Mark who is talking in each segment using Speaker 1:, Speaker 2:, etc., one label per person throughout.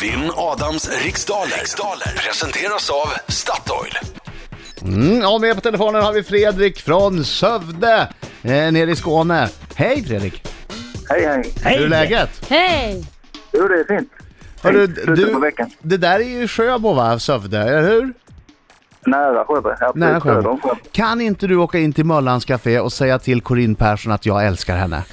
Speaker 1: Vinn Adams riksdaler. riksdaler presenteras av Statoil.
Speaker 2: Mm, och med på telefonen har vi Fredrik från Sövde eh, nere i Skåne. Hej Fredrik!
Speaker 3: Hej, hej.
Speaker 2: Hur är läget?
Speaker 4: Hej!
Speaker 3: Jo, det är fint.
Speaker 2: Hörru,
Speaker 3: Fint. Slutet på veckan.
Speaker 2: det där är ju Sjöbo va, Sövde, eller hur?
Speaker 3: Nära Sjöberg. Absolut
Speaker 2: Nära
Speaker 3: söder
Speaker 2: Sjöbo.
Speaker 3: om Sjöberg.
Speaker 2: Kan inte du åka in till Möllans Café och säga till Corinne Persson att jag älskar henne?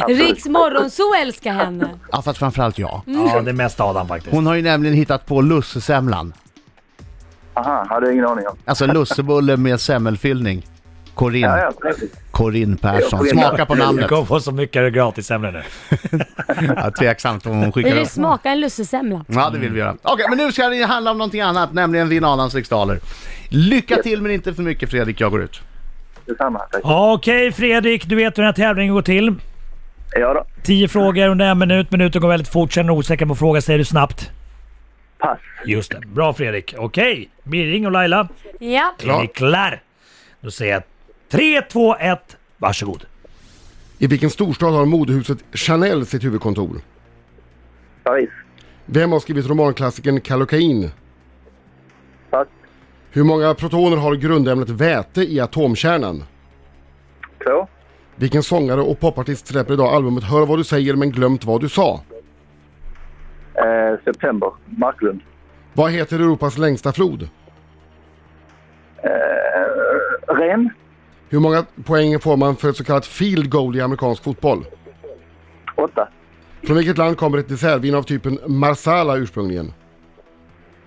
Speaker 3: Absolut.
Speaker 4: Riks morgonzoo älskar henne.
Speaker 2: Ja, fast framförallt jag.
Speaker 5: Ja, det är mest Adam faktiskt.
Speaker 2: Hon har ju nämligen hittat på lussesemlan.
Speaker 3: Aha, hade jag ingen aning om.
Speaker 2: Alltså lussebulle med semmelfyllning. Corinne,
Speaker 3: Ja, ja, trevligt.
Speaker 2: Corinne Persson.
Speaker 3: Corinne.
Speaker 2: Smaka på
Speaker 5: Du
Speaker 2: namnet.
Speaker 5: kommer få så mycket gratis ämne nu.
Speaker 2: Ja, tveksamt om hon
Speaker 4: Vill
Speaker 2: skickar
Speaker 4: du
Speaker 2: upp.
Speaker 4: smaka en lussesemla?
Speaker 2: Ja, det vill vi göra. Okej, men nu ska det handla om någonting annat, nämligen din Adams riksdaler. Lycka till, men inte för mycket Fredrik. Jag går ut.
Speaker 3: Detsamma, tack.
Speaker 5: Okej Fredrik, du vet hur den här tävlingen går till.
Speaker 3: Ja då.
Speaker 5: 10 frågor under en minut. Minuten går väldigt fort. Känner du osäker på frågan säger du snabbt.
Speaker 3: Pass.
Speaker 5: Just det. Bra Fredrik. Okej, Birging och Laila.
Speaker 4: Ja.
Speaker 5: Är ni klar? Då säger jag 3, 2, 1. Varsågod.
Speaker 6: I vilken storstad har modehuset Chanel sitt huvudkontor?
Speaker 3: Paris.
Speaker 6: Vem har skrivit romanklassikern Kallocain?
Speaker 3: Pass.
Speaker 6: Hur många protoner har grundämnet väte i atomkärnan?
Speaker 3: Två.
Speaker 6: Vilken sångare och popartist släpper idag albumet Hör vad du säger men glömt vad du sa?
Speaker 3: Eh, september. Marklund.
Speaker 6: Vad heter Europas längsta flod?
Speaker 3: Eh, Ren.
Speaker 6: Hur många poäng får man för ett så kallat field goal i amerikansk fotboll?
Speaker 3: Åtta.
Speaker 6: Från vilket land kommer ett dessertvin av typen Marsala ursprungligen?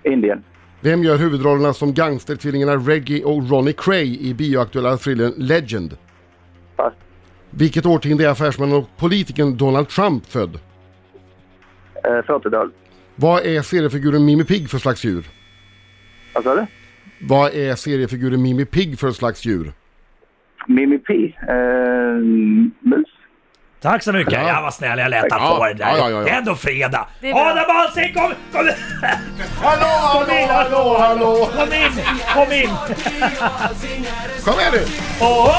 Speaker 3: Indien.
Speaker 6: Vem gör huvudrollerna som gangstertvillingarna Reggie och Ronnie Cray i bioaktuella thrillern Legend?
Speaker 3: Pass.
Speaker 6: Vilket årtionde är affärsmannen och politikern Donald Trump född?
Speaker 3: Eh, Fåtöldahl.
Speaker 6: Vad är seriefiguren Mimi Pigg för slags djur?
Speaker 3: Vad sa du?
Speaker 6: Vad är seriefiguren Mimi Pigg för slags djur?
Speaker 3: Mimi P. Eh, mus.
Speaker 5: Tack så mycket. Ja, vad snäll jag lät han
Speaker 6: Ja.
Speaker 5: få den där.
Speaker 6: Ja, ja, ja, ja.
Speaker 5: Det är ändå fredag.
Speaker 4: är bra.
Speaker 5: Adam Alsing kom! Kom,
Speaker 6: Hallå, hallå, hallå, hallå!
Speaker 5: kom in! Kom in!
Speaker 6: Kom igen nu!
Speaker 5: Åh!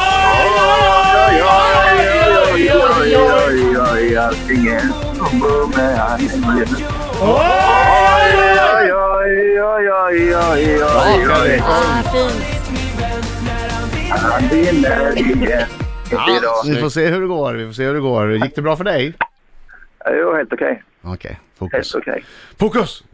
Speaker 3: Oj, oj, oj, oj. Allting är som med handen. Oj, oj, oj, oj, oj, oj, oj.
Speaker 4: Ah, fint.
Speaker 3: Han vinner igen. Inte
Speaker 2: Vi
Speaker 3: idag.
Speaker 2: får se hur det går. Vi får se hur det går. Gick det bra för dig?
Speaker 3: Jo, helt okej.
Speaker 2: Okej,
Speaker 3: Helt
Speaker 2: fokus.
Speaker 3: okej.
Speaker 2: Fokus!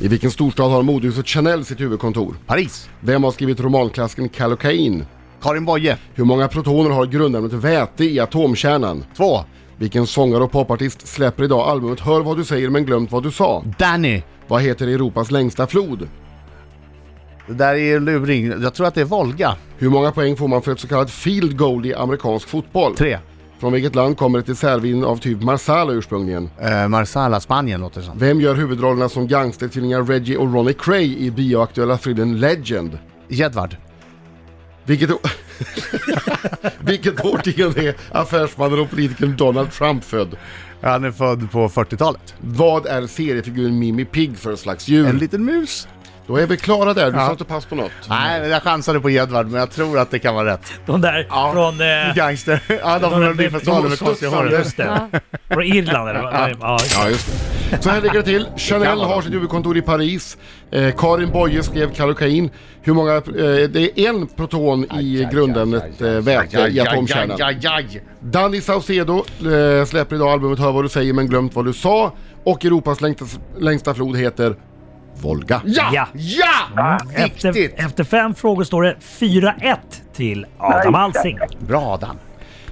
Speaker 6: I vilken storstad har modehuset Chanel sitt huvudkontor?
Speaker 2: Paris.
Speaker 6: Vem har skrivit romanklassikern Kallocain?
Speaker 2: Karin Boye.
Speaker 6: Hur många protoner har grundämnet väte i atomkärnan?
Speaker 2: Två.
Speaker 6: Vilken sångare och popartist släpper idag albumet Hör vad du säger men glömt vad du sa?
Speaker 2: Danny.
Speaker 6: Vad heter Europas längsta flod?
Speaker 2: Det där är ju en luring. Jag tror att det är Volga.
Speaker 6: Hur många poäng får man för ett så kallat field goal i amerikansk fotboll?
Speaker 2: Tre.
Speaker 6: Från vilket land kommer ett dessertvin av typ Marsala ursprungligen?
Speaker 2: Eh, Marsala, Spanien låter det som.
Speaker 6: Vem gör huvudrollerna som gangstertvillingar Reggie och Ronnie Cray i bioaktuella thrillern Legend?
Speaker 2: Jedward.
Speaker 6: Vilket, o- vilket årtionde är affärsmannen och politikern Donald Trump född?
Speaker 2: Han är född på 40-talet.
Speaker 6: Vad är seriefiguren Mimi Pigg för slags djur?
Speaker 2: En liten mus.
Speaker 6: Då är vi klara där, du
Speaker 2: Ja.
Speaker 6: sa inte pass på något.
Speaker 2: Nej, men jag chansade på Jedward, men jag tror att det kan vara rätt.
Speaker 5: De där från... eh,
Speaker 2: Gangster. Ja, de från Melodifestivalen med konstiga
Speaker 6: smutsar.
Speaker 2: hår.
Speaker 5: Just det. Från Irland eller vad? Ja.
Speaker 6: Ja, just det. Så här ligger det till. Chanel har sitt huvudkontor i Paris. Eh, Karin Boye skrev Kallocain. Hur många... Eh, det är en proton i grundämnet eh, väte i atomkärnan. Danny Saucedo eh, släpper idag albumet Hör vad du säger men glömt vad du sa. Och Europas längsta, längsta flod heter Volga.
Speaker 2: Ja!
Speaker 5: Ja. Mm.
Speaker 2: Ja!
Speaker 5: Efter,
Speaker 2: Viktigt!
Speaker 5: efter fem frågor står det 4-1 till Adam
Speaker 3: Nej,
Speaker 5: Alsing.
Speaker 2: Bra Adam!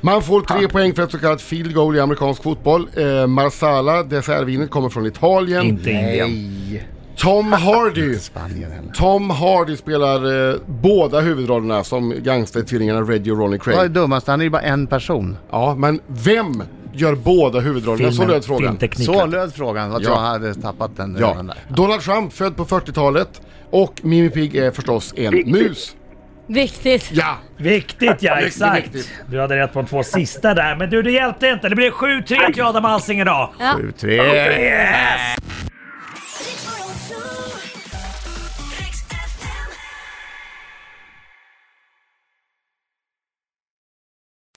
Speaker 6: Man får tre poäng för ett så kallat field goal i amerikansk fotboll. Eh, Marsala, dessertvinet, kommer från Italien.
Speaker 5: Inte Indien.
Speaker 2: Nej!
Speaker 6: Tom Hardy.
Speaker 2: Spanien heller.
Speaker 6: Tom Hardy spelar eh, båda huvudrollerna som gangstertvillingarna Reggie och Ronnie
Speaker 2: Vad är
Speaker 6: Craig.
Speaker 2: dummast? Han är ju bara en person.
Speaker 6: Ja, men vem gör båda huvudrollerna? Så löd frågan.
Speaker 2: Så
Speaker 5: Filmtekniken.
Speaker 2: löd frågan att
Speaker 6: Ja.
Speaker 2: jag hade tappat den
Speaker 6: Ja.
Speaker 2: redan där.
Speaker 6: Donald Trump född på 40-talet och Mimi Pigg är förstås en mus.
Speaker 4: Viktigt.
Speaker 6: Ja!
Speaker 5: Viktigt ja,
Speaker 6: Mycket
Speaker 5: exakt.
Speaker 6: viktigt.
Speaker 5: Du hade rätt på de två sista där, men du det hjälpte inte. Det blev 7-3 till Adam Alsing idag.
Speaker 2: Sju, tre.
Speaker 5: Yes!